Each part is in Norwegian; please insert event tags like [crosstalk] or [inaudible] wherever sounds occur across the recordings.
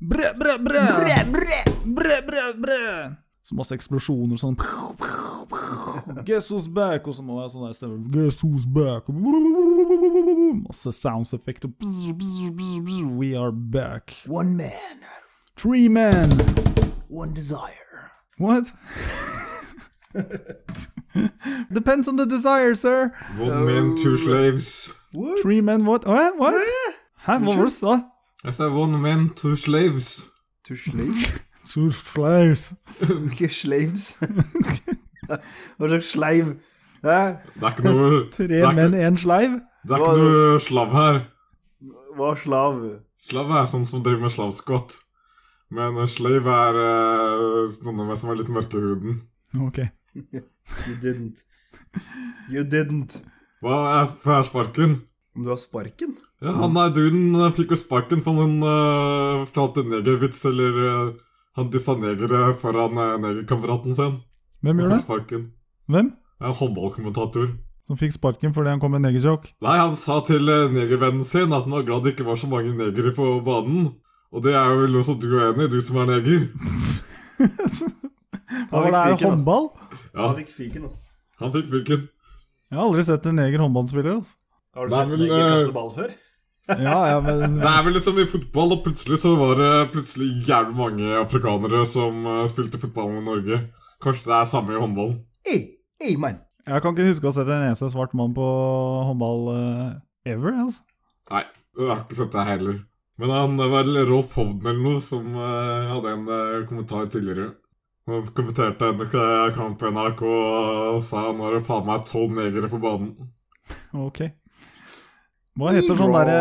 Brø, brø, brø. Brø, brø. Brø, brø, brø. Så masse eksplosjoner sånn Guess who's back? Og så må det være sånn der stemme Guess who's back? Masse sounds effects We are back. One man, Tree man. one desire. What? Depends on the desire, sir. One man, two slaves. Tree man, what? Hæ? What? Hæ, hva var det du sa? Jeg sa one man, two slaves. To slaves? [laughs] Two slaves. Hvilke slaves? [laughs] Hva slags sleiv? Hæ? Det er ikke noe [laughs] Tre det er ikke- menn, én sleiv. Det er ikke noe slav her. Hva slav? Slav er sånn som driver med slavskott. Men eh, slave er eh, noen av meg som er litt mørke i huden. Ok. You didn't. You didn't. Hva er, hva er sparken? Om du har sparken? Ja, han der duden eh, fikk jo sparken, for han eh, fortalte en negervits, eller eh, han dissa negere foran uh, negerkameraten sin. Hvem Han gjør det? fikk sparken. Hvem? En håndballkommentator. Som fikk sparken fordi han kom med negerjoke. Nei, han sa til eh, negervennen sin at han var glad det ikke var så mange negere på banen. Og det er vel også du er enig i, du som er neger. Hva var det her? fikk fiken, altså. Håndball? Ja, fikk fiken, altså. han fikk fiken. Jeg har aldri sett en neger håndballspiller. Altså. Har Nei, men, eh, ball før? Ja, ja, [laughs] men Det er vel liksom i fotball, og plutselig så var det plutselig jævlig mange afrikanere som eh, spilte fotball i Norge. Kanskje det er samme i håndballen. Ei, ei, mann. Jeg kan ikke huske å ha sett en eneste svart mann på håndball eh, ever. Altså. Nei, jeg har ikke sett det heller. Men han det var vel Rolf Hovden eller noe som eh, hadde en eh, kommentar tidligere. Han kommenterte en eh, kamp på NRK og sa nå er det faen meg tolv negere på banen. Ok. Hva heter sånn derre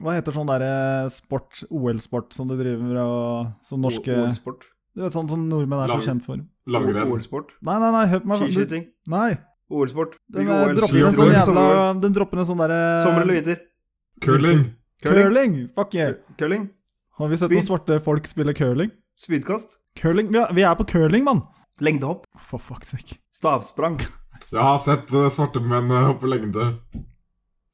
Hva heter sånn derre sport, OL-sport, som du driver og Som norske Du Ålsport. vet sånn som nordmenn er så Lang- kjent for? Nei, Langrenn. Ålsport. nei, nei, hør på meg. Du, Skiskyting. nei. OL-sport. Den eh, dropper en skihopping? sånn jævla Sommer-OL. Den dropper en sånn Sommer eller derre vinter? Curling. Curling? Curling! Fuck yeah! Curling? Har vi sett Speed. noen svarte folk spille curling? Spydkast? Curling, Vi er, vi er på curling, mann! Lengdehopp? For fuck's sake. Stavsprang? Jeg har sett eh, svarte menn eh, hoppe lengde.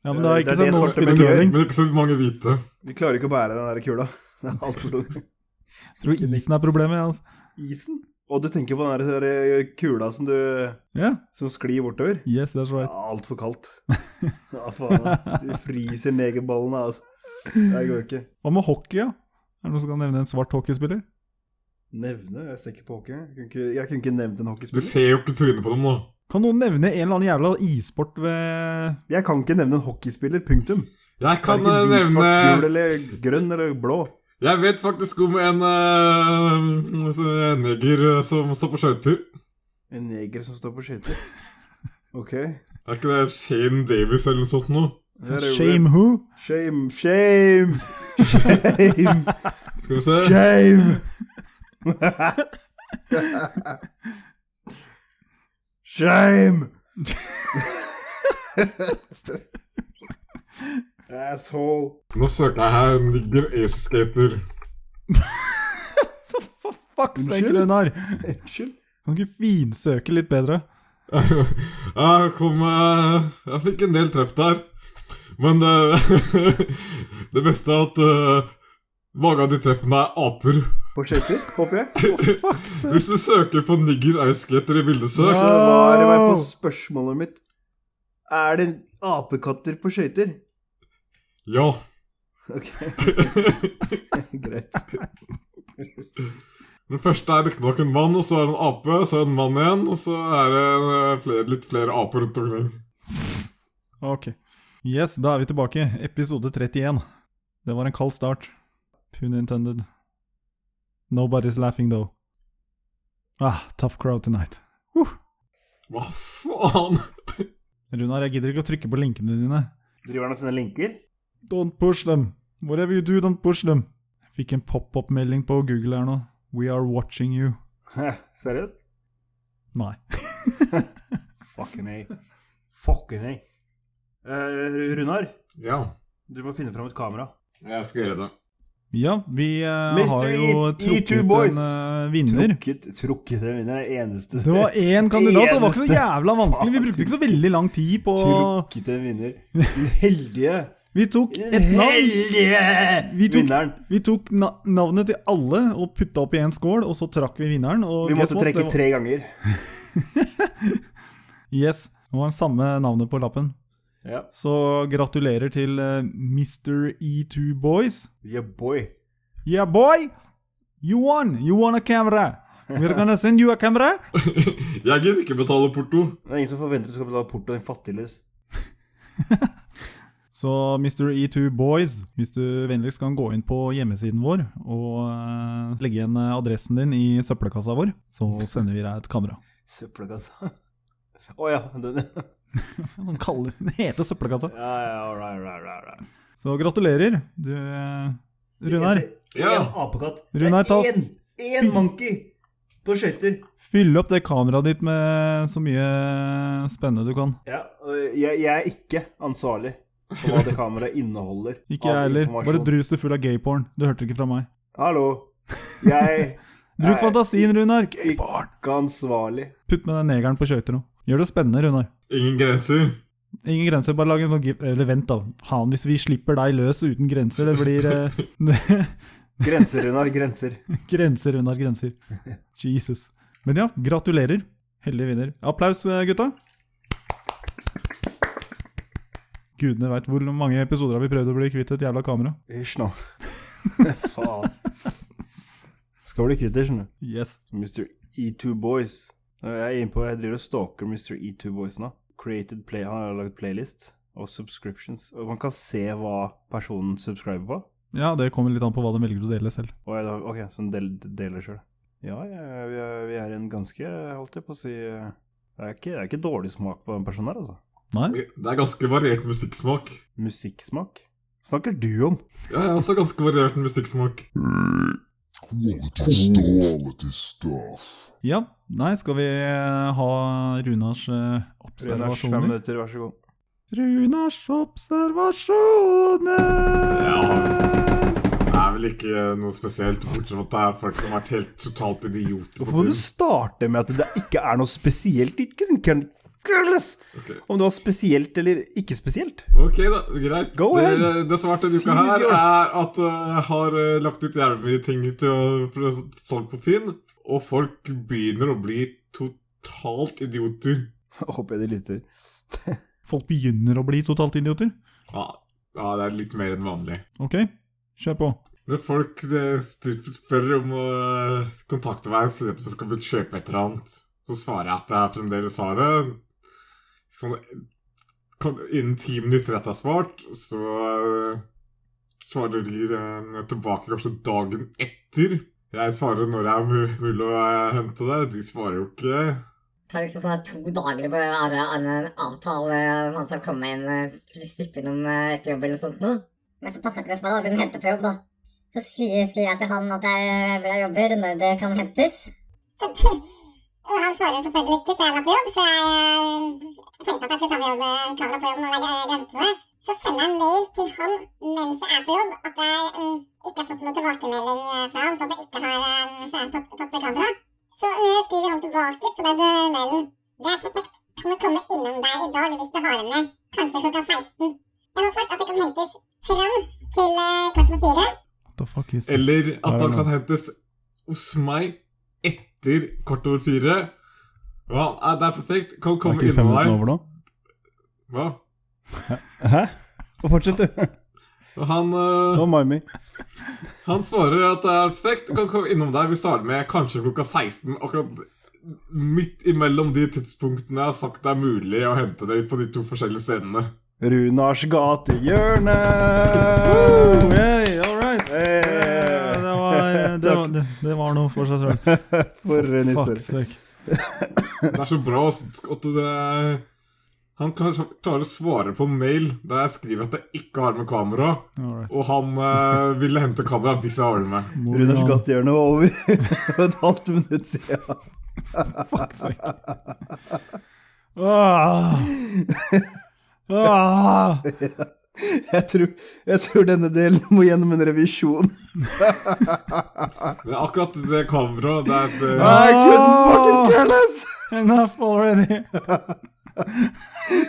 Ja, men du har Det er ikke sett det noen svarte spille menn gjør. curling. Men ikke så mange hvite. Vi klarer ikke å bære den der kula. [laughs] Det er alt for tungt. Tror du isen er problemet? ja, Altså. Isen? Og du tenker på den der eh, kula som du Ja, som sklir bortover? yes, that's Ja, right. Altfor [laughs] kaldt. Ja, faen. Du fryser negerballene, altså. Det går ikke. Hva med hockey, da? Er det noen som kan nevne en svart hockeyspiller? Nevne? Jeg ser ikke på hockey. Jeg kunne ikke, jeg kunne ikke nevnt en Du hockeyspiller. ser jo ikke trynet på dem nå. Kan noen nevne en eller annen jævla isport ved Jeg kan ikke nevne en hockeyspiller, punktum. Jeg kan eh, Verken hvit, svart, gul nevne eller grønn eller blå. Jeg vet faktisk om en eh, en neger eh, som står på skøyter. En neger som står på skøyter. [laughs] Ok. Er ikke det Shane Davis eller noe sånt noe? Her er jo- Shame Who? Shame, shame, [laughs] shame, Skal vi se. shame. Shame. Asshole. Nå søker jeg her Nigger Ace [laughs] Skater. For fuck's sake, Unnskyld? Runar! Unnskyld? Kan du ikke finsøke litt bedre? Jeg kom eh, Jeg fikk en del treff der. Men eh, [laughs] det beste er at eh, mange av de treffene er aper. På skøyter, håper jeg. For fuck's sake! Hvis du søker på Nigger Ace Skater i Så bildesøk Ja. var det meg på spørsmålet mitt. Er det apekatter på skøyter? Ja. Ok, greit. Den første er riktignok en mann, og så er det en ape, så er det en mann igjen, og så er det eh, flere, litt flere aper rundt omkring. [laughs] Ok. Yes, da er vi tilbake. Episode 31. Det var en kald start. Pun intended. Nobody's laughing, though. Ah, tough crowd tonight. Hva faen? Runar, jeg gidder ikke å trykke på linkene dine. Driver han og sender linker? Don't push them. Whatever you do, don't push them. Jeg fikk en pop-up-melding på Google her nå. We are watching you. Seriøst? Nei. Fucking hey. Fucking hey. Eh, Runar, Ja, du må finne fram et kamera. jeg skal gjøre det. Ja, vi eh, har Mr. jo E- trukket E2 en boys. eh, vinner. Trukket, trukket en vinner er det eneste Det [laughs] var én kandidat, så det var ikke så Eneste. jævla vanskelig. Vi brukte ikke så veldig lang tid på Trukket en vinner. Den heldige Vi tok et navn. Vi Hellige tok- vinneren! Vi tok na navnet til alle og putta opp i en skål, og så trakk vi vinneren. Og Vi guess måtte what? trekke sånn, Det var- tre ganger. Yes, det var samme navnet på lappen. Ja. Så gratulerer til eh, Mr. E2 Boys. Yeah, boy. Yeah, boy! You won! You won a camera! We're gonna send you a camera! [laughs] Jeg gidder ikke betale porto. Det er ingen som forventer at du skal betale porto din fattigløs. Så Mr. E2 Boys, hvis du vennligst kan gå inn på hjemmesiden vår og eh, legge igjen eh, adressen din i søppelkassa vår, så sender vi deg et kamera. Søppelkassa. altså. Å ja. [laughs] Den, ja, Sånn kaller [laughs] den heter søppelkassa. ja, all right, all right, all right. Så gratulerer, du eh, Runar. Jeg ser Ja. En apekatt. Runar, Det ta- er Én! Én monkey! På skøyter. Fyll opp det kameraet ditt med så mye eh, spennende du kan. Ja, øh, jeg, jeg er ikke ansvarlig for hva det kameraet inneholder. Ikke av jeg heller. Bare informasjon. drus du full av gayporn. Du hørte det ikke fra meg. Hallo. Jeg Bruk er fantasien, Runar! Gayporn. ikke ansvarlig. Putt med den negeren på skøyter nå. Gjør det spennende, Runar. Ingen grenser. Ingen grenser, bare lag en sånn gif... Eller vent, da. Faen, hvis vi slipper deg løs uten grenser, det blir eh, [laughs] Grenser, Runar. Grenser. Grenser, Runar, grenser. Jesus. Men ja, gratulerer. Heldig vinner. Applaus, eh, gutta. Gudene veit hvor mange episoder har vi prøvd å bli kvitt et jævla kamera. Hysj nå. [laughs] Faen. Skal bli kvitt det, skjønner du. Yes. Mr. E2 E Boys. Jeg er inne på, jeg driver og stalker Mr. E2 Boys nå. Created play, Han har laget playlist og subscriptions. Og Man kan se hva personen subscriber på. Ja, det kommer litt an på hva de velger å dele selv. Og jeg, da- ok, Så den del, deler sjøl. Ja, jeg- vi er, vi er en ganske Holdt jeg på å si eh, det er, ikke, det er ikke dårlig smak på den personen her, altså. Nei? Det er ganske variert musikksmak. Musikksmak? Snakker du om? Ja, jeg har også ganske variert musikksmak. Quality stuff. Quality stuff. Ja. Nei, skal vi eh, ha Runars eh, Runars fem observasjoner? minutter, vær så god. Runars observasjoner! Det er vel ikke noe spesielt, bortsett fra at det er folk som har vært helt totalt idioter. på Hvorfor må du byen. starte med at det ikke er noe spesielt? Ok. Om det var spesielt eller ikke spesielt? Ok, da. Greit. Go det, ahead. det som har vært denne uka Seize her, yours. er at øh, jeg har øh, lagt ut jævlig mye ting til å for å solge på Finn, og folk begynner å bli totalt idioter. Håper jeg de lytter. Folk begynner å bli totalt idioter. Ja, ja det er litt mer enn vanlig. Ok, kjør på. Når folk eh, styr- spør om å eh, kontakte meg og sier at vi skal vel kjøpe et eller annet, så svarer jeg at jeg fremdeles har det. Sånn, kan- innen ti minutter etter jeg har svart, så eh, svarer de eh, tilbake kanskje dagen etter. Jeg svarer når jeg er mu- mulig å eh, hente det. De svarer jo ikke. tar liksom sånn her to dager på å ha en avtale om han skal komme inn, eh, slippe innom eh, etter jobb eller noe sånt noe. Men så passer ikke det som at hun henter på jobb, da. Så skriver, skriver jeg til han at jeg, hvor jeg jobber, når det kan hentes. [laughs] Og han svarer selvfølgelig ikke, for han er på jobb, så jeg, eh, tenkte at jeg skulle ta med jobb, kamera på jobb når jeg eh, glemte det. Så sender jeg en mail til han mens jeg er på jobb, at jeg mm, ikke har fått noen tilbakemelding eh, fra han, så at jeg ikke har eh, så jeg har tatt, tatt med kamera. Så eh, skriver han tilbake på den eh, mailen. Det er perfekt. Kan du komme innom der i dag hvis du har det med? Kanskje klokka 16. Jeg har sagt at det kan hentes fram til eh, kvart på fire. What the fuck is this? Eller Nei, at han nei. kan hentes hos meg etter kvart over fire. Ja, nei, det er perfekt. Kan Er komme ikke fem innom minutter deg. over nå? Hva? Hæ? Og fortsett, du. Og Han eh, Det var Mimi. Han svarer at det er perfekt, kan komme innom deg. Vi starter med kanskje klokka 16. Akkurat midt imellom de tidspunktene jeg har sagt det er mulig å hente deg på de to forskjellige stedene. Runars gatehjørne! Hey, all right. Hey. Eh, Det, var, det, var, det, det var noe for seg selv. For en Fuck historie. sake. Det er så bra at du det Han kan klare å svare på en mail der jeg skriver at jeg ikke har med kamera, All right. og han eh, ville hente kamera hvis jeg har det med. Må du Runars ha- gatehjørne var over [laughs] for et halvt minutt siden. Fuck sake. Ah. Ah. Jeg tror, jeg tror denne delen må gjennom en revisjon. Det er akkurat det Ah! kameraet det er et, eh, I couldn't fucking care less! Enough already.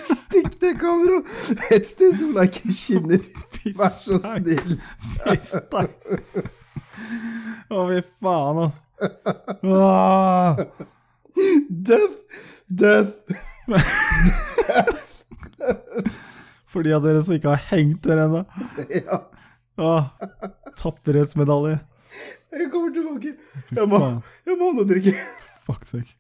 Stikk det kameraet et sted som leken skinner. Vær så Fistang. snill. Fistang. Å, fy faen, Ah. altså. Åh. Death! Death! For de av dere som ikke har hengt dere ennå. Ja, Åh, Tapperhetsmedalje. jeg kommer tilbake. Fy Jeg må, faen. jeg må ha noe å drikke. Fuck sake.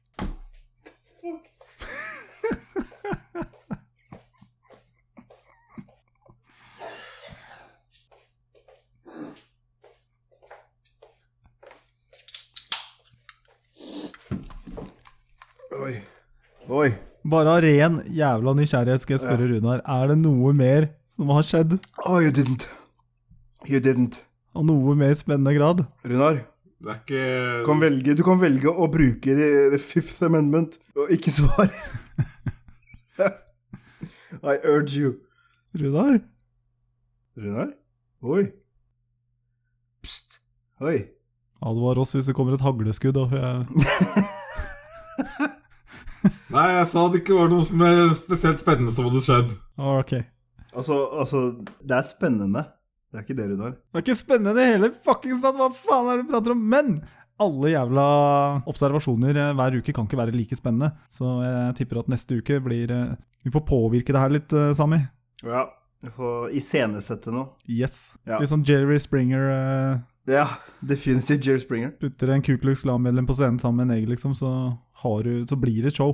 Oi. Oi. Bare av ren jævla nysgjerrighet skal jeg spørre Runar, er det noe mer som har skjedd? Oh, you didn't. You didn't. Av noe mer spennende grad? Runar, Det er ikke du kan velge, du kan velge å bruke the, the Fifth Amendment og ikke [laughs] svare. I urge you. Runar? Runar? Oi. Pst. Oi. Advar oss hvis det kommer et hagleskudd, da, for jeg Nei, jeg sa det ikke var noe som er spesielt spennende som hadde skjedd. ah, Ok. Altså, altså, det er spennende. Det er ikke det, Runar. Det er ikke spennende i det hele fuckings tatt, hva faen er det du prater om? Men alle jævla observasjoner eh, hver uke kan ikke være like spennende, så jeg tipper at neste uke blir eh, Vi får påvirke det her litt, eh, Sami. Ja. Du får iscenesette noe. Yes. Ja. Litt sånn Jerry Springer eh, Ja, definitivt Jerry Springer. putter en Ku Klux Klan-medlem på scenen sammen med en egg, liksom, så, har du, så blir det et show.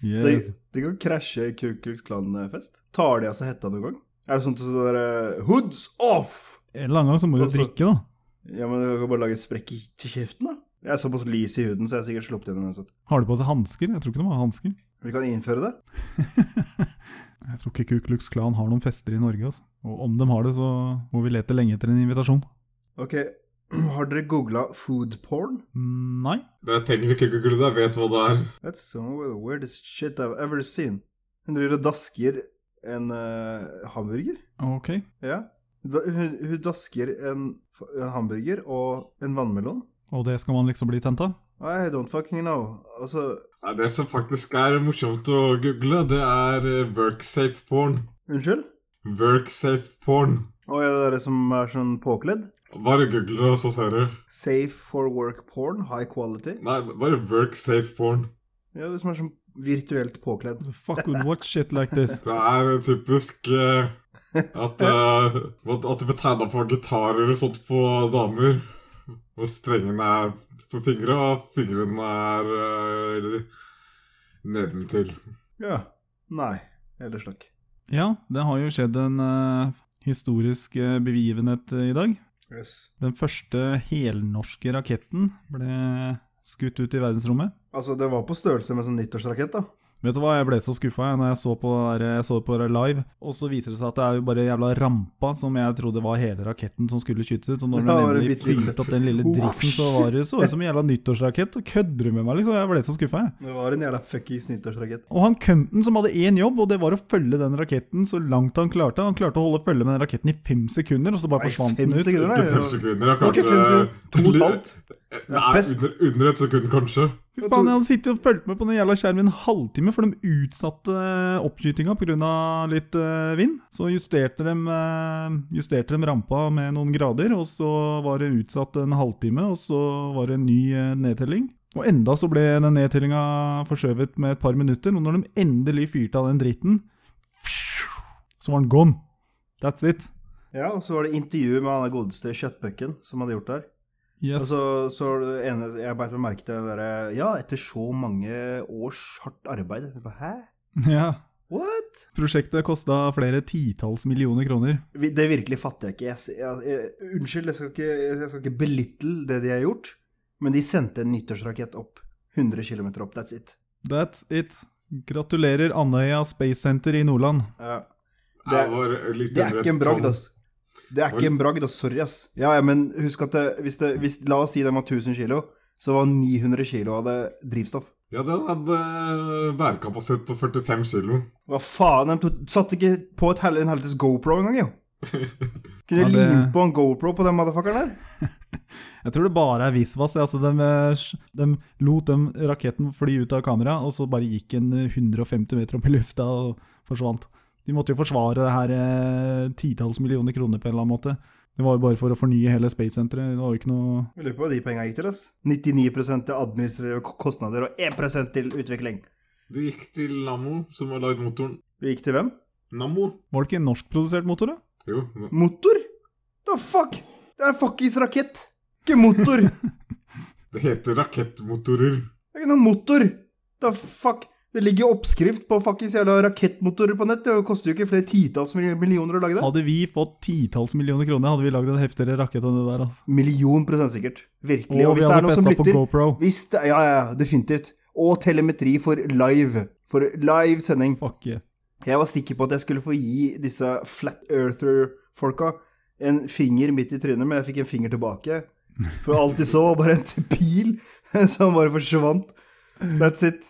De, Yes. de kan krasje i Ku Klux Klan-fest. Tar de av seg hetta noen gang? Er det sånn at det står eh, 'Hoods off'? En eller annen gang så må du jo Altså- drikke, da. Ja, men du kan bare lage sprekk i- til kjeften, da. Jeg er såpass lys i huden, så jeg har sikkert sluppet gjennom uansett. Har de på seg hansker? Jeg tror ikke de har hansker. [laughs] Vi kan innføre det. Jeg tror ikke Ku Klux Klan har noen fester i Norge, altså. Og om de har det, så må vi lete lenge etter en invitasjon. Ok, [clears throat] har dere googla food porn? Nei. Det trenger ikke google det, jeg vet hva det er. That's some of the weirdest shit I've ever seen. Hun driver og dasker en eh, hamburger. Ok. Ja. Da, hun, hun dasker en, en hamburger og en vannmelon. Og det skal man liksom bli tent av? I don't fucking know. Altså, Nei, det som faktisk er morsomt å google, det er eh, worksafe porn. unnskyld? Worksafe porn. Å ja, det er det som er sånn påkledd? Bare google det, og så ser du. Safe for work porn, high quality. Nei, bare worksafe porn. Ja, det som er sånn virtuelt påkledd. Fuck would watch shit like [laughs] this. Det er typisk eh, [laughs] at, eh, at at du blir tegna på gitarer og sånt på damer. Og strengene er på fingra, og fingrene er eh, nedentil. Ja. Nei. Eller slakk. Ja, det har jo skjedd en eh, historisk eh, begivenhet eh, i dag. Yes. Den første helnorske raketten ble skutt ut i verdensrommet. Altså, det var på størrelse med sånn nyttårsrakett, da. Vet du hva, jeg ble så skuffa jeg, når jeg så, på det der, jeg så det på det live, og så viser det seg at det er jo bare jævla rampa som jeg trodde var hele raketten som skulle skytes ut, [laughs] og når Ja, de var det nemlig bitte lite. fyrte opp den lille dritten, så var det så ut som en jævla nyttårsrakett, og kødder du med meg, liksom? Jeg ble så skuffa, jeg. Det var en jævla fuckings nyttårsrakett. Og han kønten som hadde én jobb, og det var å følge den raketten så langt han klarte, han klarte å holde følge med den raketten i fem sekunder, og så bare Nei, forsvant fem den ut. sekunder, Ikke fem nei. sekunder. Jeg var ikke klarte fem sekunder. To og et halvt. [laughs] Nei, Best. under, under et sekund, kanskje. Fy faen, jeg hadde sittet og fulgt med på den jævla skjermen i en halvtime, for de utsatte eh, oppskytinga pga. litt eh, vind. Så justerte de, eh, justerte de rampa med noen grader, og så var det utsatt en halvtime, og så var det en ny eh, nedtelling. Og enda så ble den nedtellinga forskjøvet med et par minutter, og når de endelig fyrte av den dritten, så var den gone. That's it. Ja, og så var det intervju med han der godeste kjøttbøkken som hadde gjort der. Og Yes. så, så var det ene, jeg beit meg merke til det derre Ja, etter så mange års hardt arbeid. Jeg bare, Hæ? [laughs] ja. What? Prosjektet kosta flere titalls millioner kroner. Vi- Det virkelig fatter jeg ikke. Jeg, s- jeg, jeg, unnskyld, jeg skal ikke, jeg skal ikke belittle det de har gjort, men de sendte en nyttårsrakett opp. 100 km opp, that's it. That's it. Gratulerer Andøya Space Center i Nordland. Ja. Det, Det- var litt Det er under et ikke en bragd, tonn. ass. Det er ikke en bragd, ass. Sorry, ass. Ja, ja, men husk at det, hvis det hvis, La oss si den var 1000 kilo, så var 900 kilo av det drivstoff. Ja, den hadde bærekapasitet på 45 kilo. [laughs] Hva faen? De to- satte ikke på et hel, en helvetes GoPro engang, jo. Kunne Ja, du det- limt på en GoPro på den motherfuckeren der? Jeg tror det bare er visvas. Altså, de, eh, de lot den raketten fly ut av kamera, og så bare gikk eh, den 150 meter opp i lufta og forsvant. De måtte jo forsvare det her eh, titalls millioner kroner på en eller annen måte. Det var jo bare for å fornye hele Space-senteret. Det var jo ikke noe Jeg lurer på hva de penga gikk til, ass. 99 til administrative k- kostnader og 1 til utvikling. Det gikk til Nammo, som har lagd motoren. Det gikk til hvem? Nammo? Var det ikke en norskprodusert motor, da? Jo. Motor? The fuck? Det er fuckings rakett! Ikke motor! Det Det heter rakettmotorer. er ikke noe motor! The fuck? Det ligger jo oppskrift på fuckings jævla rakettmotorer på nett. Det koster jo ikke flere titalls mill- millioner å lage det. Hadde vi fått titalls millioner kroner, hadde vi lagd en heftigere rakett enn det der. altså. Million prosent sikkert. Virkelig. Og Og vi hvis det er hadde noen som festa på lytter GoPro. hvis det, Ja, ja, ja, definitivt. Og telemetri for live. For live sending. Fuck yeah. Jeg var sikker på at jeg skulle få gi disse flat earther-folka en finger midt i trynet, men jeg fikk en finger tilbake. For alt de så, var bare en pil [laughs] som bare forsvant. That's it.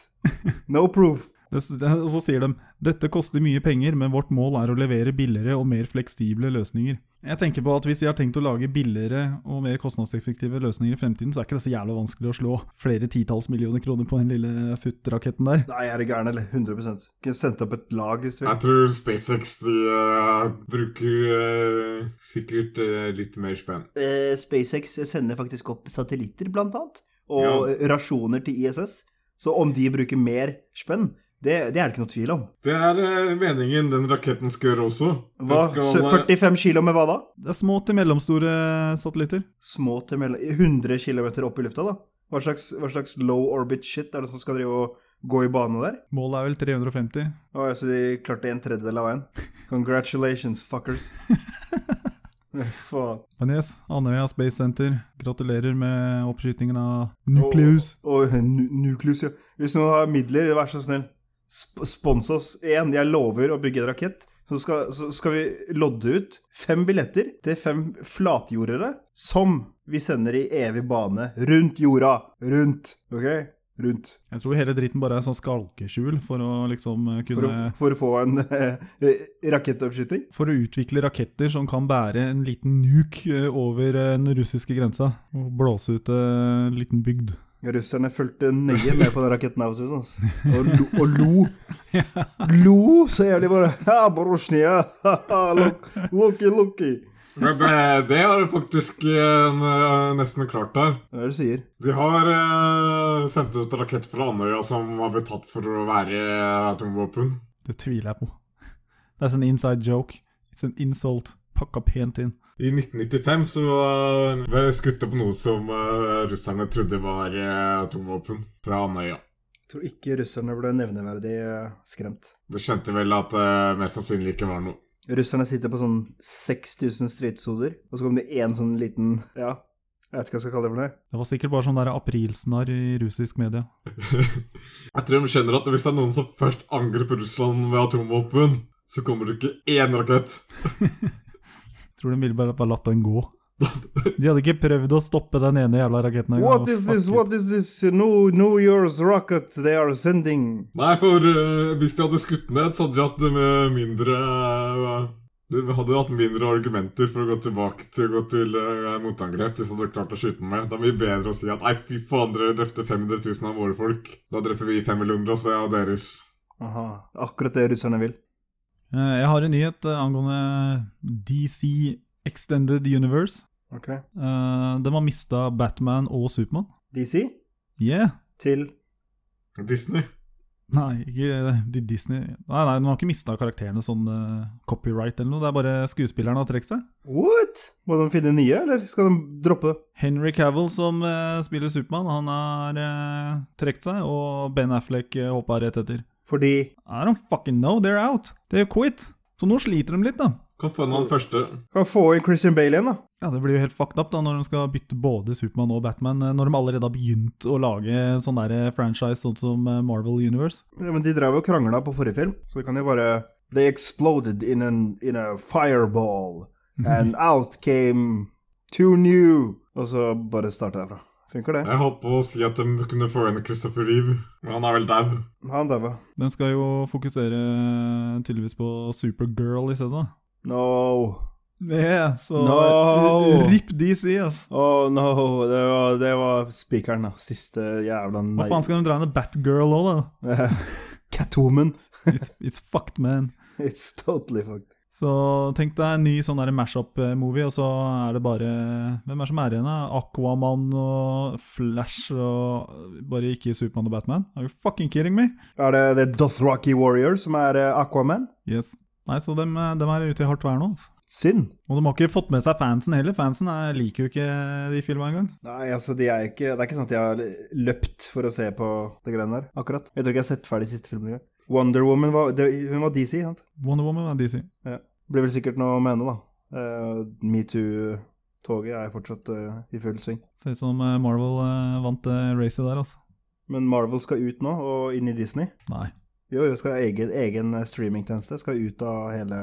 No proof. Det, og så sier de dette koster mye penger, men vårt mål er å levere billigere og mer fleksible løsninger. Jeg tenker på at Hvis de har tenkt å lage billigere og mer kostnadseffektive løsninger i fremtiden, så er ikke det så jævla vanskelig å slå flere titalls millioner kroner på den lille futt-raketten der. Nei, er du gæren, eller? 100 Kunne sendt opp et lag hvis du vil. Jeg tror SpaceX de, eh, bruker eh, sikkert eh, litt mer spenn. Eh, SpaceX sender faktisk opp satellitter, blant annet, og rasjoner til ISS. Så om de bruker mer spenn, det, det er det ikke noe tvil om. Det er eh, meningen den raketten skal gjøre også. Den Hva? skal, Så eh, 45 kilo med hva da? Det er små til mellomstore satellitter. små til mellom 100 km opp i lufta, da? Hva slags, hva slags low orbit shit er det som skal drive og gå i bane der? Målet er vel 350. Å, ja, så de klarte en tredjedel av veien. Congratulations, fuckers. Faen. Men yes, Andøya Space Center, gratulerer med oppskytingen av Nucleus. Og nu Nucleus, ja. Hvis noen har midler, vær så snill, sp spons oss. Én, jeg lover å bygge en rakett. Så skal, så skal vi lodde ut fem billetter til fem flatjordere som vi sender i evig bane rundt jorda. Rundt. OK? Rundt. Jeg tror hele dritten bare er sånn skalkeskjul for å liksom eh, For kunne å, for å få en eh, rakettoppskyting? for å utvikle raketter som kan bære en liten nuke eh, over eh, den russiske grensa og blåse ut eh, en liten bygd. Russerne fulgte nøye med på den raketten. Av, synes, jeg. og, lo, og [laughs] lo. Lo så jævlig bare [laughs] Ja, [laughs] Borosjnia! Look, looky, looky! Men det, det har de faktisk eh, nesten klart der. Hva er det du sier? De har eh, sendt ut rakett fra Andøya som har blitt tatt for å være atomvåpen. Det tviler jeg på. Det er en inside joke. It's an insult. Pakka pent inn. I 1995 så eh, ble det skutt opp noe som eh, russerne trodde var eh, atomvåpen fra Andøya. Jeg tror ikke russerne ble nevneverdig eh, skremt. De skjønte vel at det mest sannsynlig ikke var noe. Russerne sitter på sånn 6000 stridshoder, og så kom det én sånn liten Ja, jeg vet ikke hva jeg skal kalle det for noe. Det var sikkert bare sånn der aprilsnarr i russisk media. Jeg tror de skjønner at hvis det er noen som først angriper Russland med atomvåpen, så kommer det ikke én rakett. Tror de ville bare, bare latt den gå. De hadde ikke prøvd å stoppe den ene jævla raketten. engang. What is this? Fuck What is this new New Year's rocket they are sending? Nei, for eh, hvis de hadde skutt ned, så hadde de hatt eh, mindre eh, De hadde hatt mindre argumenter for å gå tilbake til, gå til eh, motangrep hvis de hadde klart å skyte den med. Det er mye bedre å si at nei, fy faen, dere drepte 500 000 av våre folk. Da dreper vi 5 millioner av av deres. Aha, akkurat det russerne vil. Eh, Jeg har en nyhet eh, angående DC Extended Universe. Ok. Eh, De har mista Batman og Supermann. DC Yeah! til Disney. Nei, ikke eh, de Disney Nei, nei, de har ikke mista karakterene sånn eh, copyright eller noe. Det er bare skuespillerne har trukket seg. What? Må de finne nye, eller skal de droppe det? Henry Cavill, som eh, spiller Supermann, han har uh, trukket seg, og Ben Affleck uh, hoppa rett etter. Fordi I don't fucking know, they're out. They quit. Så nå sliter de litt, da. Kan få den første. Kan få inn Christian Bale igjen, da. Ja, Det blir jo helt fucked up da når de skal bytte både Supermann og Batman, eh, når de allerede har begynt å lage sånn der eh, franchise sånn som eh, Marvel Universe. Ja, men de drev jo og krangla på forrige film, så vi kan jo bare They exploded in, an, in a fireball, Mhm. and out came two new Og så bare starte derfra. Funker det? Jeg holdt på å si at de kunne få inn Christopher Reeve, men han er vel dau. Han daua. De skal jo fokusere eh, tydeligvis på Supergirl i stedet. da. No. Yeah, så eh, No. RIP DC, ass. Å Oh, no, det var, det var spikeren, da. Siste Hva jævla nei. faen skal de dra ned Batgirl òg, da? [laughs] Catwoman. It's, it's fucked, man. It's totally fucked. Så tenk deg en ny sånn der mash-up-movie, og så er det bare Hvem er det som er igjen? da? Aquaman og Flash og Bare ikke Supermann og Batman? Are you fucking kidding me? Er det The Dothraki Warrior som er eh, Aquaman? Yes. Nei, så dem, eh, dem er ute i hardt vær nå. Altså. Synd. Og de har ikke fått med seg fansen heller. Fansen er, liker jo ikke de filmene engang. Nei, altså, de er ikke, det er ikke sånn at jeg har løpt for å se på det greiene der, akkurat. Jeg tror ikke jeg har sett ferdig siste filmen engang. Wonder Woman var, det, hun var DC, sant? Wonder Woman er DC. Blir vel sikkert noe med henne, da. Eh, Metoo-toget er fortsatt eh, i full sving. Ser ut som eh, Marvel eh, vant eh, racet der, altså. Men Marvel skal ut nå, og inn i Disney. Nei. Jo, jo, skal ha egen, egen eh, streamingtjeneste. Skal ut av hele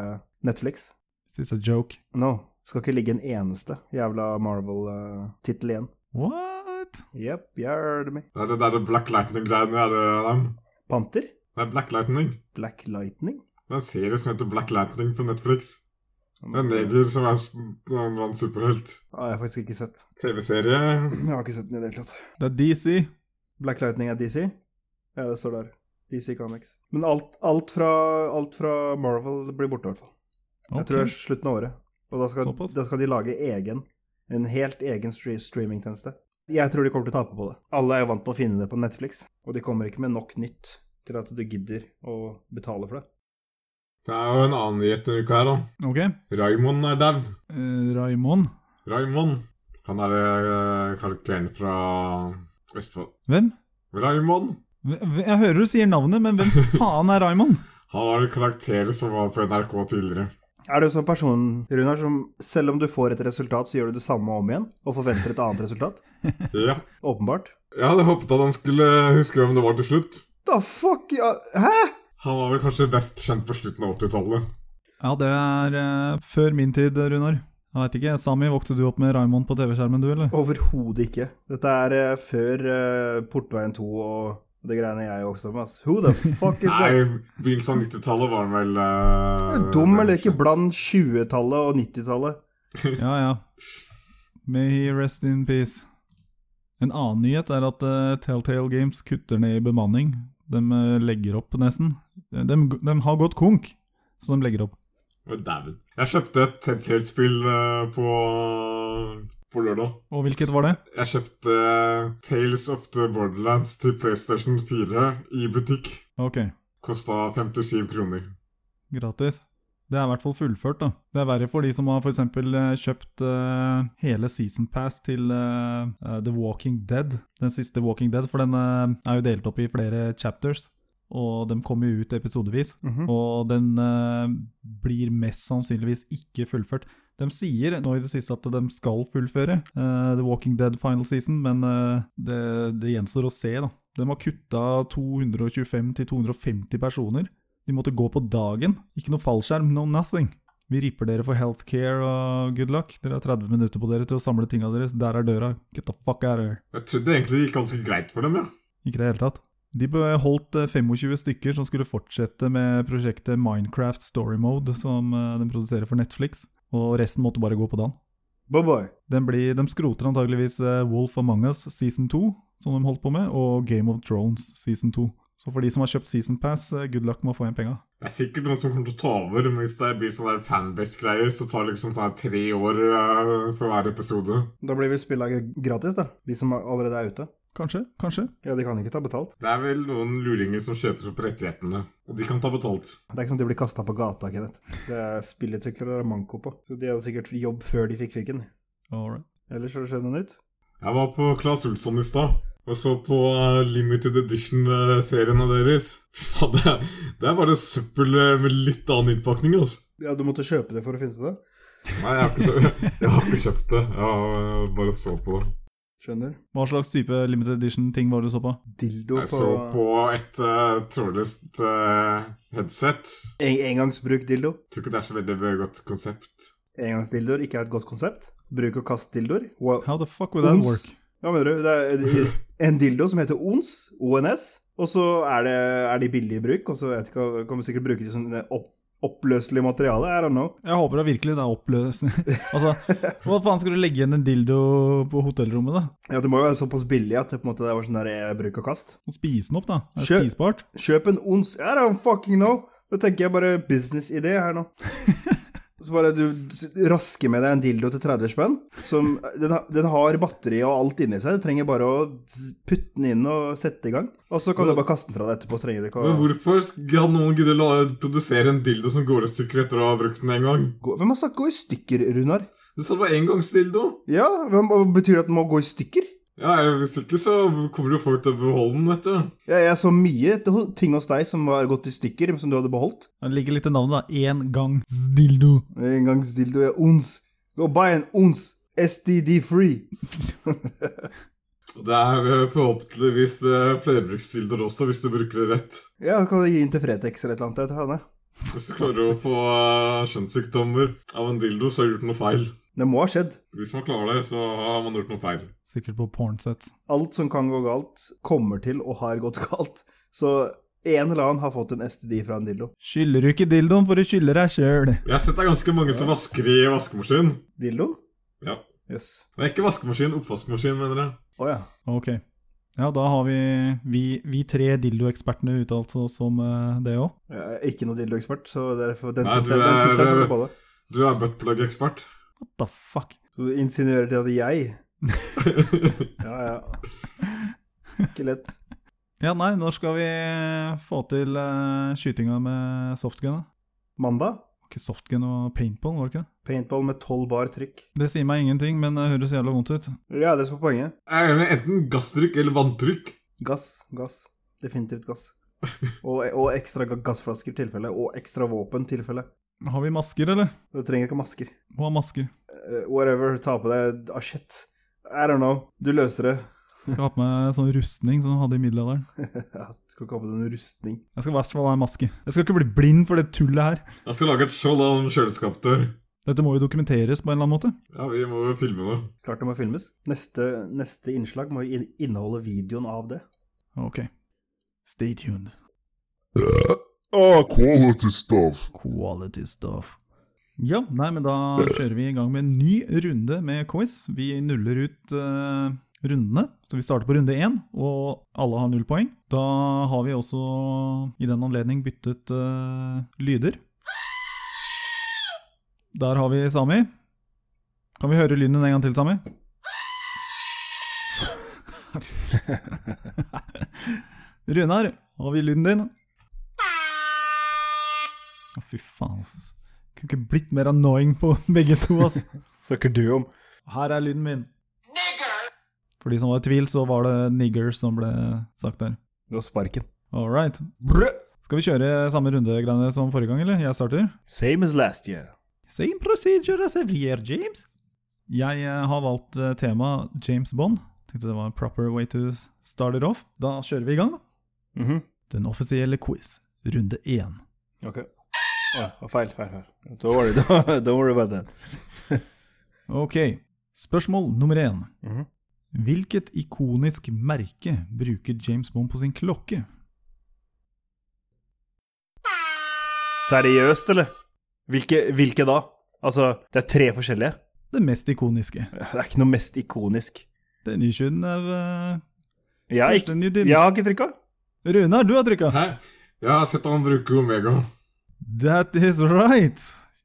Netflix. It's a joke. No. Skal ikke ligge en eneste jævla Marvel-tittel igjen. What? Jepp, jeg hører meg. Det er det derre Black Lightning-greiene. Er det, Adam? Panter? det er Black Lightning. Black Lightning? Det er en serie som heter Black Lightning på Netflix. Det er en neger som er s- en vann superhelt. Ah, jeg har faktisk ikke sett. [clears throat] TV-serie. Jeg har ikke sett den i det hele tatt. Det er DC. Black Lightning er DC? Ja, det står der. DC Comics. Men alt, alt, fra, alt fra Marvel blir borte, i hvert fall. Jeg tror det er Ok. slutten av året. Og da skal, Såpass. da skal de lage egen, en helt egen stre streamingtjeneste. Jeg tror de kommer til å tape på det. Alle er jo vant med å finne det på Netflix, og de kommer ikke med nok nytt til at du gidder å betale for det. Det er jo en annen nyhet denne uka her, da. Ok. Raymond er dau. Eh, Raymond. Raymond. Han er eh, karakteren fra Østfold. Hvem? Raymond. Hve- hve- Jeg hører du sier navnet, men [laughs] hvem faen er Raymond? Han var en karakter som var på NRK tidligere. Er du sånn person, Runar, som selv om du får et resultat, så gjør du det samme om igjen, og forventer et annet [laughs] resultat? Ja. Åpenbart. Jeg hadde håpet at han skulle huske hvem det var til slutt. Da fuck ja, Hæ?! Han var vel kanskje best kjent på slutten av 80-tallet. Ja, det er eh, før min tid, Runar. Jeg veit ikke. Sami, vokste du opp med Raymond på TV-skjermen, du, eller? Overhodet ikke. Dette er eh, før eh, Portveien 2 og det greiene jeg vokste opp med, ass. Who the fuck is that? Nei, begynnelsen av 90-tallet var han vel eh, Dum eller ikke, bland 20-tallet og 90-tallet. Ja, ja. May he rest in peace. En annen nyhet er at eh, Telltale Games kutter ned i bemanning. De eh, legger opp, nesten. De, de, de har gått konk, så de legger opp. Å, Dæven. Jeg kjøpte et Telltale-spill eh, på, på lørdag. Og hvilket var det? Jeg kjøpte eh, Tales of the Borderlands til PlayStation 4 i butikk. Ok, Kosta 57 kroner. gratis. Det er i hvert fall fullført, da. Det er verre for de som har f.eks. kjøpt eh, hele season pass til eh, eh, The Walking Dead. Den siste Walking Dead, for den eh, er jo delt opp i flere chapters. Og de kommer jo ut episodevis. Og den eh, blir mest sannsynligvis ikke fullført. De sier nå i det siste at de skal fullføre eh, The Walking Dead final season, men eh, det, det gjenstår å se, da. De har kutta 225 til 250 personer. De måtte gå på dagen. Ikke noe fallskjerm, no nothing. Vi ripper dere for healthcare og good luck. Dere har 30 minutter på dere til å samle tinga deres. Der er døra. Get the fuck out of here. Jeg trodde egentlig det gikk ganske greit for dem, ja. Ikke i det hele tatt. De beholdt eh, 25 stykker som skulle fortsette med prosjektet Minecraft Story Mode, som eh, de produserer for Netflix, og resten måtte bare gå på dagen. Boboy. Den blir, de skroter antageligvis eh, Wolf Among Us season 2, som de holdt på med, og Game of Thrones season 2. Så for de som har kjøpt season pass, eh, good luck med å få igjen penga. Det er sikkert noen som kommer til å ta over, men hvis det blir sånne der fanbase-greier, så tar det liksom sånn her tre år eh, for hver episode. Da blir vel spillet gratis, da. De som allerede er ute. Kanskje, kanskje. Ja, De kan ikke ta betalt. Det er vel noen luringer som kjøper opp rettighetene, og de kan ta betalt. Det er ikke sånn at de blir kasta på gata, Kenneth. Det er spillutviklere det er manko på. Så de hadde sikkert jobb før de fikk fikken. All right. Ellers har det skjedd noe nytt. Jeg var på Claes Olsson i stad og så på eh, limited edition-seriene deres. Fy faen, det er- det er bare søppel eh, med litt annen innpakning, altså. Ja, du måtte kjøpe det for å finne ut av det? Nei, jeg har ikke kjøpt, [laughs] jeg har ikke kjøpt det. Jeg har eh, bare så på det. Skjønner. Hva slags type limited edition-ting var det du så på? Dildo Jeg på, så på et eh, trådløst eh, headset. en, Engangsbruk-dildo. Jeg tror ikke det er så veldig godt konsept. Engangsdildoer ikke er et godt konsept. Bruk og kast-dildoer. Wow. How the fuck would that Ons. work? Hva mener du? Det [laughs] er en dildo som heter ONS, ONS, og så er, det, er de billige i bruk, og så vet jeg ikke, kommer sikkert bruke de som opp, oppløselig materiale. I don't know. Jeg håper da virkelig det er oppløsning. altså, hva faen skal du legge igjen en dildo på hotellrommet, da? Ja, Det må jo være såpass billig at det på en måte det var sånn der eh, bruk og kast. Og spise den opp, da? Er det Kjøp. spisbart? Kjøp en ons... I don't fucking know. Da tenker jeg bare businessidé her [laughs] nå. Så bare du s- rasker med deg en dildo til 30 spenn. Som, den, ha- den har batteri og alt inni seg. Du trenger bare å z- putte den inn og sette i gang. Og så kan du bare kaste den fra deg etterpå. Så trenger du ikke å Men hvorfor hadde noen giddet å la- produsere en dildo som går i stykker etter å ha brukt den en gang? gå. Hvem har sagt 'gå i stykker', Runar? Du sa det var engangsdildo. Ja, hvem, og Betyr det at den må gå i stykker? Ja, hvis ikke så kommer jo folk til å beholde den, vet du. Ja, jeg så mye til- ting hos deg som var gått i stykker, som du hadde beholdt. Det ligger litt i navnet, da. Én gang dildo. Engangsdildo er ons. Go buy en ons. STD free. [laughs] Og det er eh, forhåpentligvis eh, flerbruksdildoer også, hvis du bruker det rett. Ja, kan du gi den til Fretex eller et eller annet? Jeg tar det. Hvis du klarer å få eh, kjønnssykdommer av en dildo, så har du gjort noe feil. Det må ha skjedd. Hvis man klarer det, så har man gjort noe feil. Sikkert på pornsets. Alt som kan gå galt, kommer til og har gått [laughs] galt. Så en eller annen har fått en STD fra en dildo. Skyller du ikke dildoen, for du skylder deg sjøl. Jeg har sett det er ganske mange som vasker i vaskemaskin. Dildoen? Ja. Jøss. Yes. Det er ikke vaskemaskin, oppvaskmaskin, mener jeg. Å ja. Ok. Ja, da har vi vi, vi tre dildoekspertene uttalt oss om eh, det òg. Jeg er ikke noe dildoekspert, så derfor den Nei, du tittelen den er- tittelen kommer på det. Du er buttplug-ekspert. What the fuck? Så du insinuerer til at jeg Ja, ja. Ikke lett. Ja, nei, når skal vi få til eh, skytinga med softgun? da? Mandag? Var ikke softgun og paintball, var det ikke det? Paintball med 12 bar trykk. Det sier meg ingenting, men det høres jævla vondt ut. Ja, det som er poenget. Jeg er enig, enten gasstrykk eller vanntrykk. Gass, gass. Definitivt gass. Og, og ekstra ga- gassflasker tilfelle, og ekstra våpen tilfelle. Har vi masker, eller? Du trenger ikke masker. Må ha masker. Eh, whatever, ta på deg asjett. I don't know. Du løser det. [laughs] Skal ha på meg sånn rustning som de hadde i middelalderen. Ja, du skal ikke ha på deg noen rustning. Jeg skal i verste fall ha en maske. Jeg skal ikke bli blind for det tullet her. Jeg skal lage et skjold av en kjøleskapdør. Dette må jo dokumenteres på en eller annen måte. Ja, vi må jo filme det. Klart det må filmes. Neste, neste innslag må jo in- inneholde videoen av det. Ok. Stay tuned. Quality stuff. Quality stuff. Ja, nei, men da kjører vi i gang med en ny runde med quiz. Vi nuller ut eh, rundene. Så vi starter på runde én, og alle har null poeng. Da har vi også i den anledning byttet eh, lyder. Der har vi Sami. Kan vi høre lyden en gang til, Sami? Runar, har vi lyden din? Å, fy faen, ass. Kunne ikke blitt mer annoying på [laughs] begge to, ass. Snakker du om? Her er lyden min. For de som var i tvil, så var det nigger som ble sagt der. Det var sparken. All right. Brø! Skal vi kjøre samme rundegreiene som forrige gang, eller? Jeg starter. Same as last year. Same procedure as every year, James. Jeg eh, har valgt eh, tema James Bond. Tenkte det var en proper way to start it off. Da kjører vi i gang, da. Mhm. Den offisielle quiz, runde én. Ok. Å, feil, feil, feil. Don't worry, [laughs] don't, don't worry about that. Ok, spørsmål nummer én. Mhm. Hvilket ikonisk merke bruker James Bond på sin klokke? Seriøst, eller? Hvilke, hvilke da? Altså, det er tre forskjellige. Det mest ikoniske. Det er ikke noe mest ikonisk. Den nyskjønne uh, Jeg, har ikke- første New Din. jeg har ikke trykka. Runar, du har trykka! Hæ? Jeg har sett han bruke Omega. That is right!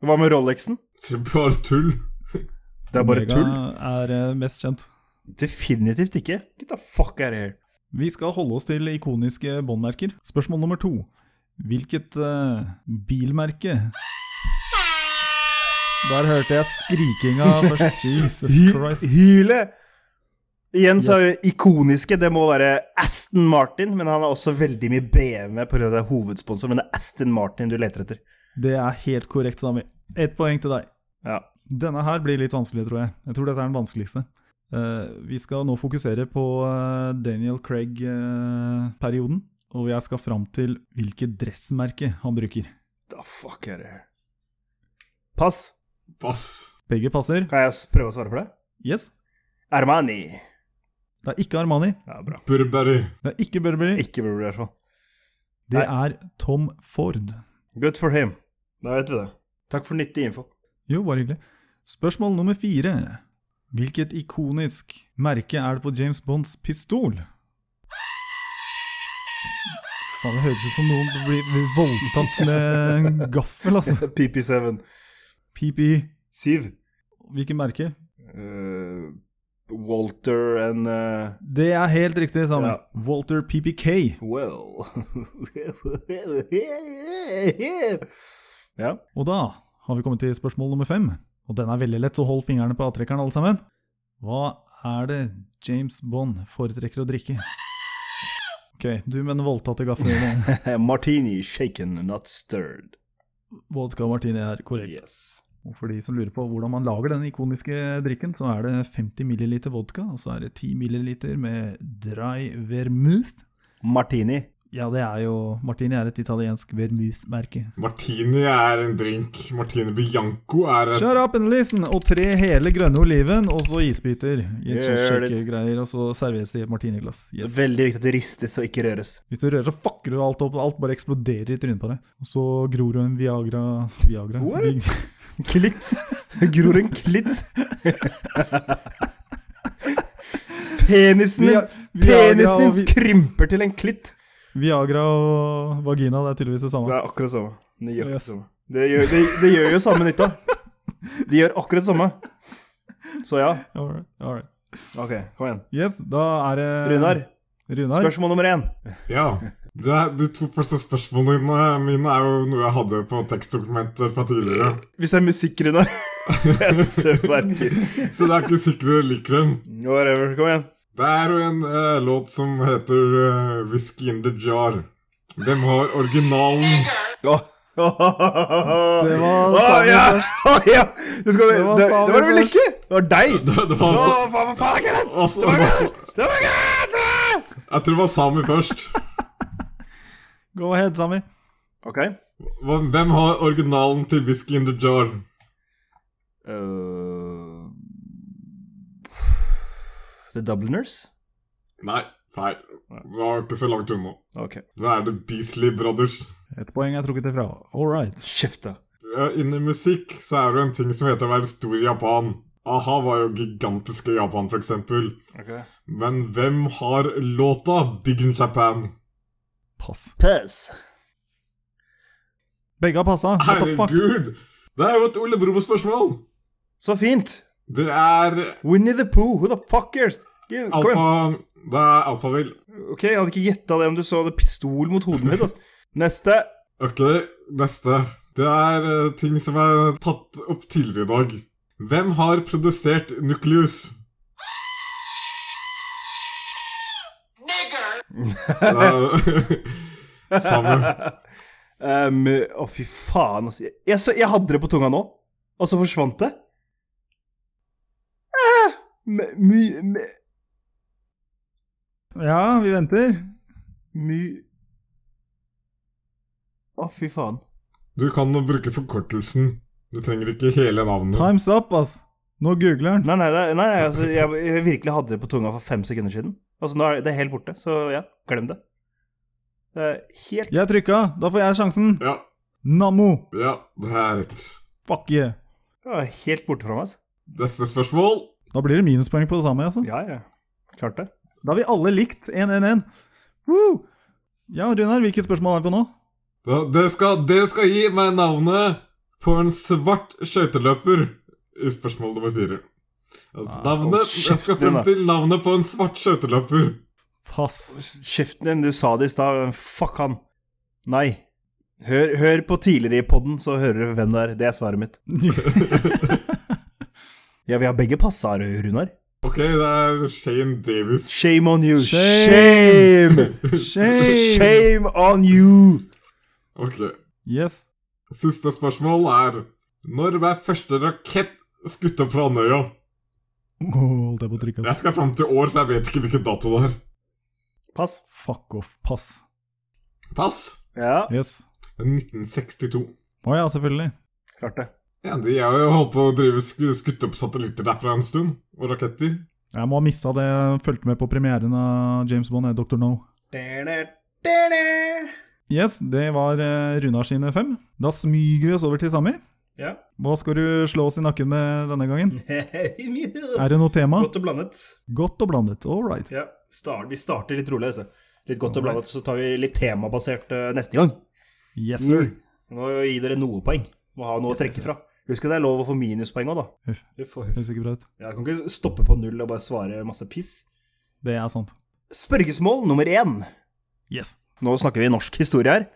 Hva med Rolexen? Det er bare tull. Det er bare Omega tull. er eh, mest kjent. Definitivt ikke. Get the fuck out of here. Vi skal holde oss til ikoniske båndmerker. Spørsmål nummer to. Hvilket eh, bilmerke Der hørte jeg skrikinga [laughs] først. Jesus Christ. hyle! Igjen så er det ikoniske. Det må være Aston Martin, men han har også veldig mye BMW pga. det er hovedsponsor, men det er Aston Martin du leter etter. Det er helt korrekt, Sami. Ett poeng til deg. Ja. Denne her blir litt vanskelig, tror jeg. Jeg tror dette er den vanskeligste. Eh, vi skal nå fokusere på eh, Daniel Craig-perioden, og jeg skal fram til hvilket dressmerke han bruker. The fuck out of here. Pass. Pass. Begge passer. Kan jeg s- prøve å svare for det? Yes. Armani. Det er ikke Armani. Ja, bra. Burberry. Det er ikke Burberry. Ikke Burberry, i hvert fall. Det er Tom Ford. Good for him. Da vet vi det. Takk for nyttig [laughs] info. Jo, bare hyggelig. Spørsmål nummer fire. Hvilket ikonisk merke er det på James Bonds pistol? Faen, det høres ut som noen blir blir voldtatt med en gaffel, altså. PP7. Pipi. Syv. Hvilket merke? Eh, Walter and eh, Det er helt riktig, sammen. Ja. Walter PPK. Well [laughs] Ja. Og da har vi kommet til spørsmål nummer fem. Og den er veldig lett, så hold fingrene på avtrekkeren, alle sammen. Hva er det James Bond foretrekker å drikke? Ok, du mener voldtatte gafler. [laughs] Martini shaken, not stirred. Vodka martini er korrekt. Yes. Og for de som lurer på hvordan man lager den ikoniske drikken, så er det 50 ml vodka, og så er det 10 ml med dry vermouth. Martini. Ja, det er jo Martini er et italiensk vermouth-merke. Martini er en drink. Martini Bianco er et Shut up and listen! Og tre hele grønne oliven, og så isbiter. I et Gjør sånt det. shaker-greier, og så serveres det i et martiniglass. Yes. Veldig viktig at det ristes og ikke røres. Hvis du rører, så fucker du alt opp, og alt bare eksploderer i trynet på deg. Og så gror du en Viagra Viagra? What? [laughs] Klitt. Gror en klitt. [laughs] Penisen, Via- Viagra penisen og din vi- krymper til en klitt. Viagra og vagina, det er tydeligvis det Det samme. er akkurat samme. Nøyaktig Yes. samme. Det gjør, det, det gjør jo samme nytta. De gjør akkurat samme. Så ja, All right. All right. ok, kom igjen. Yes, da er det Runar, Runar. spørsmål nummer én. Ja. Det er, de to første spørsmålene mine er jo noe jeg hadde på tekstdokumenter fra tidligere. Hvis det er musikk, [laughs] Runar. Jeg søverker. Så det er ikke sikkert jeg liker dem. Whatever. Kom igjen. Det er jo en eh, låt som heter eh, Whiskey in the Jar. Hvem har originalen? Det var Å, Sami ja! først. Å, ja! Det, skal vi, Det var det, Sami det var vel først. ikke? Det var deg! Det, det var Å, altså, faen, hva faen er det? altså, Det var det var så- Det var ikke Jeg tror det var Sami først. Go ahead, Sami. Ok. Hva- Hvem har originalen til Whiskey in the Jar? Eh, the Dubliners? Nei, feil. Det var ikke så langt unna. Ok. Det er The Beasley Brothers. Et poeng er trukket ifra. All right. Kjeft, da. Ja, Innen musikk så er det en ting som heter å være stor i Japan. A-ha var jo gigantiske i Japan, for eksempel. Men hvem har låta Big in Japan? Pass. Pass. Begge har passa. What the fuck? Herregud! Det er jo et Ole Brumm-spørsmål! Så fint! Det er Winnie the Pooh, who the fuck cares? Gi- Kom igjen. alfa... Det er alfavill. Ok, jeg hadde ikke gjetta det om du så hadde pistol mot hodet mitt. Altså. Neste. Ok, neste. Det er eh, ting som er tatt opp tidligere i dag. Hvem har produsert Nucleus? [laughs] Nigger! [laughs] Samme. Um, å, fy faen, altså. Jeg, jeg, så- jeg hadde det på tunga nå, og så forsvant det. Eh, my, my, my, Ja, vi venter. my. Å, fy faen. Du kan nå bruke forkortelsen. Du trenger ikke hele navnet. Time's up, ass. Nå googler han. Nei, nei, det- nei altså, jeg, jeg virkelig hadde det på tunga for fem sekunder siden. Altså, nå er det, det er helt borte, så ja, glem det. Det er helt Jeg trykka. Da får jeg sjansen. Ja, Nammo. ja, det er rett. Fuck yeah. det var helt borte fra meg. Altså. Neste spørsmål. Da blir det minuspoeng på det samme. Altså. Ja, ja. Klart det. Da har vi alle likt 1-1-1. Woo! Ja, Runar, hvilket spørsmål er vi på nå? Da, dere, skal, dere skal gi meg navnet på en svart skøyteløper i spørsmål nummer fire. Altså, navnet, hold jeg skal kjeft, frem Gunnar. til navnet på en svart skøyteløper. Pass. Kjeften din, du sa det i stad. men Fuck han. Nei. Hør, hør på tidligere i poden, så hører du hvem det er. Det er svaret [laughs] mitt. Ja, vi har begge passa, Runar. Ok, det er Shane Davis. Shame on you. Shame! Shame! Shame! [laughs] Shame on you! Ok, Yes. Siste spørsmål er Når ble første rakett skutt opp fra Andøya? Åh, Holdt jeg på å trykke. Jeg skal fram til år, for jeg vet ikke hvilken dato det er. Pass. Fuck off. Pass. Pass. Ja, Yes. 1962. Å ja, selvfølgelig. klart det. Ja, De har jo holdt på å drive sk skutt opp satellitter derfra en stund. Og raketter. Jeg må ha mista det. Fulgte med på premieren av James Bond, eh, Dr. No. Yes, det var eh, Runar sine fem. Da smyger vi oss over til Sami. Ja. Hva skal du slå oss i nakken med denne gangen? Godt Er det noe tema? og blandet. Godt og blandet. All right. Ja, start, vi starter litt rolig. vet du. Litt godt og blandet, så tar vi litt temabasert eh, neste gang. Yes, sir. Nå gir dere noe poeng. Må ha noe å trekke fra. Husk at det er lov å få minuspoeng òg, da. Huff. Huff og huff. Høres ikke bra ut. Ja, Jeg kan ikke stoppe på null og bare svare masse piss. Det er sant. Spørgesmål nummer én. Yes. Nå snakker vi norsk historie her.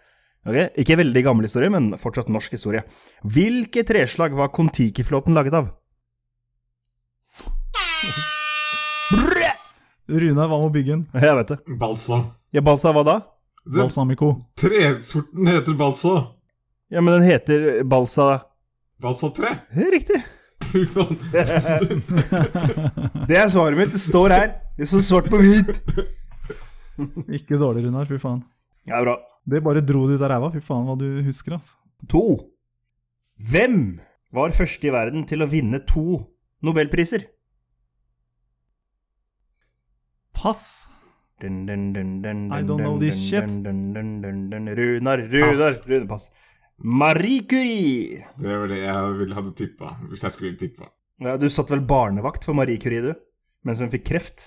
Ok, Ikke veldig gammel historie, men fortsatt norsk historie. Hvilke treslag var Kon-Tiki-flåten laget av? Runar var med å bygge en Jeg vet det. Balsa. Ja, Balsa hva da? Det, balsamico. tresorten heter balsa. Ja, men den heter Balsa Balsatre. Det er Riktig. [laughs] Fy [laughs] faen. Det er svaret mitt. Det står her. Det står svart på hvitt. Ikke dårlig, Runar. Fy faen. Ja, bra. Det bare dro det ut av ræva. Fy faen hva du husker, ass. To. Hvem var først i verden til å vinne to nobelpriser? Pass. Dun, dun, dun, dun, I dun, don't know dun, this dun, shit. dun, dun, dun, dun. Runar, Runar, Pass. Runar, pass. Marie Curie. Det var det jeg ville hadde tippa, hvis jeg skulle tippa. Ja, du satt vel barnevakt for Marie Curie, du? Mens hun fikk kreft?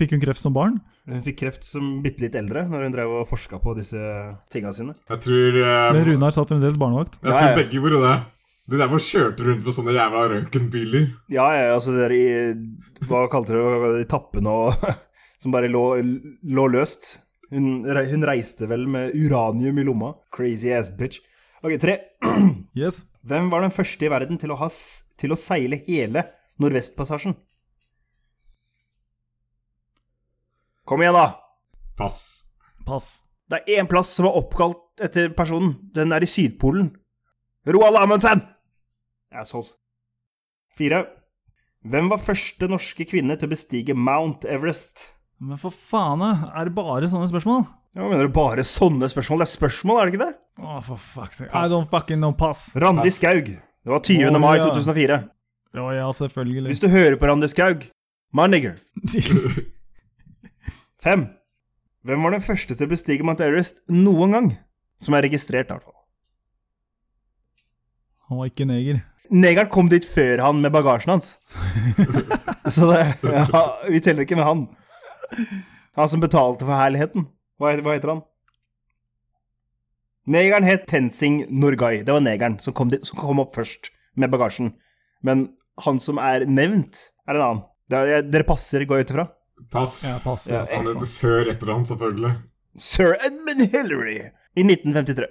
Fikk hun kreft som barn? Hun fikk kreft som bitte litt eldre, når hun drev og forska på disse tinga sine. Jeg tror eh, Men Runar satt fremdeles barnevakt. Jeg Ja, tror ja. begge gjorde det. De der bare kjørte rundt med sånne jævla røntgenbiler. Ja, ja, altså det der i Hva kalte du det? Tappene og [laughs] Som bare lå, lå løst. Hun, re- hun reiste vel med uranium i lomma. Crazy ass bitch. Ok, tre. Yes. Hvem var den første i verden til å, ha, s- til å seile hele Nordvestpassasjen? Kom igjen, da! Pass. Pass. Det er én plass som er oppkalt etter personen. Den er i Sydpolen. Roald Amundsen! Assholes. Fire. Hvem var første norske kvinne til å bestige Mount Everest? Men for faen, er det bare sånne spørsmål? Ja, hva mener du bare sånne spørsmål? Det er spørsmål, er det ikke det? Å, for fuck's sake. I don't fucking know pass. Randi Pass. Skaug. Det var 20. Å, mai ja. 2004. Ja, ja, selvfølgelig. [laughs] Hvis du hører på Randi Skaug, my nigger. Fem. Hvem var den første til å bestige Mount Everest noen gang? Som er registrert, i hvert fall. Han var ikke neger. Negeren kom dit før han med bagasjen hans. Så det, ja, vi teller ikke med han. Han som betalte for herligheten. Hva heter, hva heter han? Negeren het Tensing Norgay. Det var negeren som kom, dit, som kom opp først med bagasjen. Men han som er nevnt, er en annen. Det er, jeg, dere passer, går jeg ut ifra? Pass. Ja, pass. Ja, Ja, Han sant. heter Sør etter han, selvfølgelig. Sir Edmund Hillary i 1953.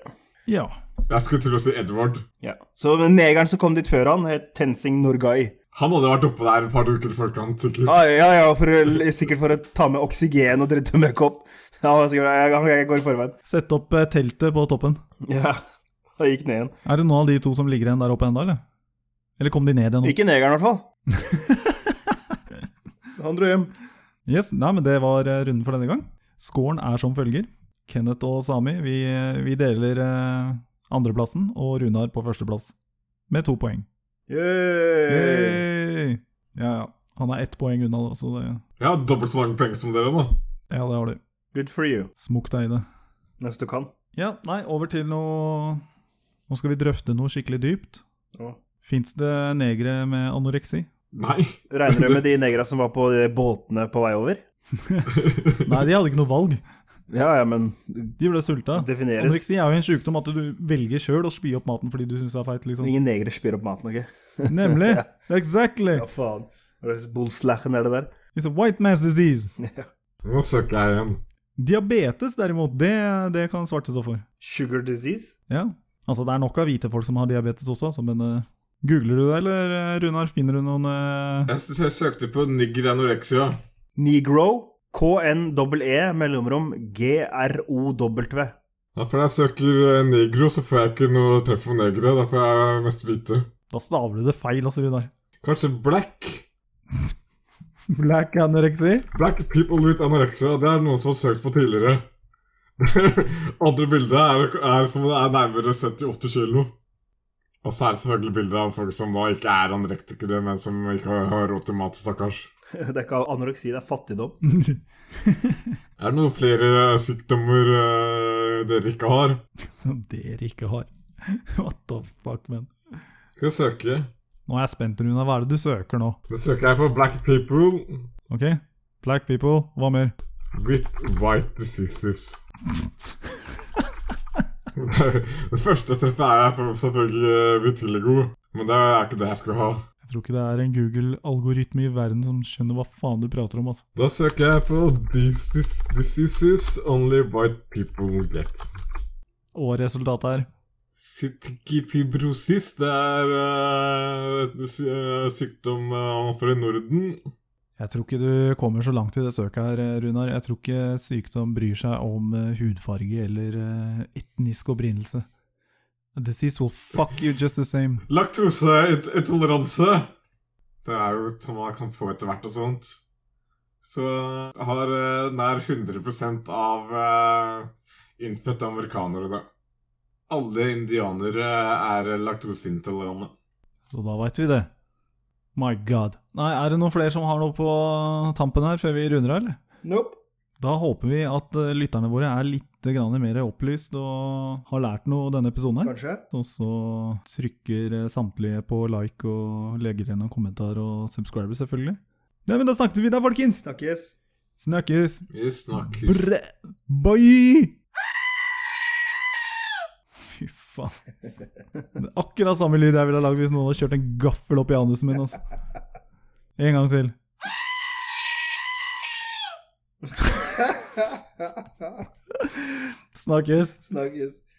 ja. Jeg skulle til å si Edward. Ja. Så negeren som kom dit før han, het Tensing Norgay. Han hadde vært oppe der et par uker i forkant, sikkert. Ja, ja, ja for, å- sikkert for å ta med oksygen og drite meg opp. Ja, han var sikkert, jeg, jeg, jeg går i forveien. Sett opp eh, teltet på toppen. Ja, og gikk ned igjen. Er det noen av de to som ligger igjen der oppe ennå, eller? Eller kom de ned igjen nå? Ikke negeren, i hvert fall. [laughs] han dro hjem. Yes, nei, men det var eh, runden for denne gang. Scoren er som følger. Kenneth og Sami, vi, eh, vi deler eh, andreplassen, og Runar på førsteplass. Med to poeng. Yay. Yay! Ja, ja. Han er ett poeng unna, da, så det Jeg har dobbelt så mange penger som dere nå. Ja, det har du. Good for you. Smukk deg i det. Mens du kan. Ja, nei, over til noe Nå skal vi drøfte noe skikkelig dypt. Ja. Fins det negere med anoreksi? Nei. Regner du med de negra som var på de båtene på vei over? Nei, de hadde ikke noe valg. Ja, ja, men De ble sulta. defineres. Anoreksi er jo en sjukdom at du velger sjøl å spy opp maten fordi du syns det er feit, liksom. Ingen negre spyr opp maten, OK? Nemlig! Exactly! Ja, faen. Hva slags bullslachen er det der? It's a white man's disease. Nå søker jeg igjen. Diabetes, derimot, det, det kan svarte stå for. Sugar disease? Ja. Altså, det er nok av hvite folk som har diabetes også, altså, men eh, googler du det, eller eh, Runar, finner du noen eh, Jeg, s- jeg søkte på nigger anorexia. Negro, K-N-E-E, E, mellomrom, [laughs] G-R-O-W. Ja, for når jeg søker eh, negro, så får jeg ikke noe treff for negre. Da får jeg mest hvite. Da staver du det feil, altså, Runar. [laughs] Kanskje black? Black anoreksi? Black people with anorexia. Det er noen som har søkt på tidligere. [laughs] Andre bildet er, er som det er nærmere 70-80 kilo. Og så er det selvfølgelig bilder av folk som da ikke er anorektikere, men som ikke har- har råd til mat, stakkars. Det er ikke anoreksi, det er fattigdom. Er det noen flere sykdommer eh, dere ikke har? [laughs] Som dere ikke har. [laughs] What the fuck, men. Skal jeg søke? Nå er jeg spent, Runa. Hva er det du søker nå? Da søker jeg for black people Ok? Black people, hva mer? with white diseases. det første treffet er jeg for- selvfølgelig vitiligo, men det er ikke det jeg skulle ha. Jeg tror ikke det er en Google-algoritme i verden som skjønner hva faen du prater om, altså. Da søker jeg på these dis- diseases only white people get. Og resultatet er Sitkifibrosis, det er eh, et sy- eh, sykdom eh, fra Norden. Jeg tror ikke du kommer så langt i det søket her, eh, Runar. Jeg tror ikke sykdom bryr seg om eh, hudfarge eller eh, etnisk opprinnelse. A disease will fuck you just the same. Laktoseintoleranse. Det er jo som man kan få etter hvert og sånt. Så har eh, nær 100 av eh, innfødte amerikanere det. Alle indianere eh, er laktoseintolerante. Så da veit vi det. My god. Nei, er det noen flere som har noe på tampen her før vi runder av, eller? Nope. Da håper vi at eh, lytterne våre er litt grann mer opplyst og har lært noe denne episoden her. Kanskje. Og så trykker eh, samtlige på like og legger igjen en kommentar og subscriber, selvfølgelig. Nei, men da snakket vi da, folkens! Snakkes. Snakkes! Vi snakkes. Brr. Bye! Fy faen. Det er akkurat samme lyd jeg ville ha lagd hvis noen hadde kjørt en gaffel opp i anusen min. Altså. En gang til. Snakkes. Snakkes.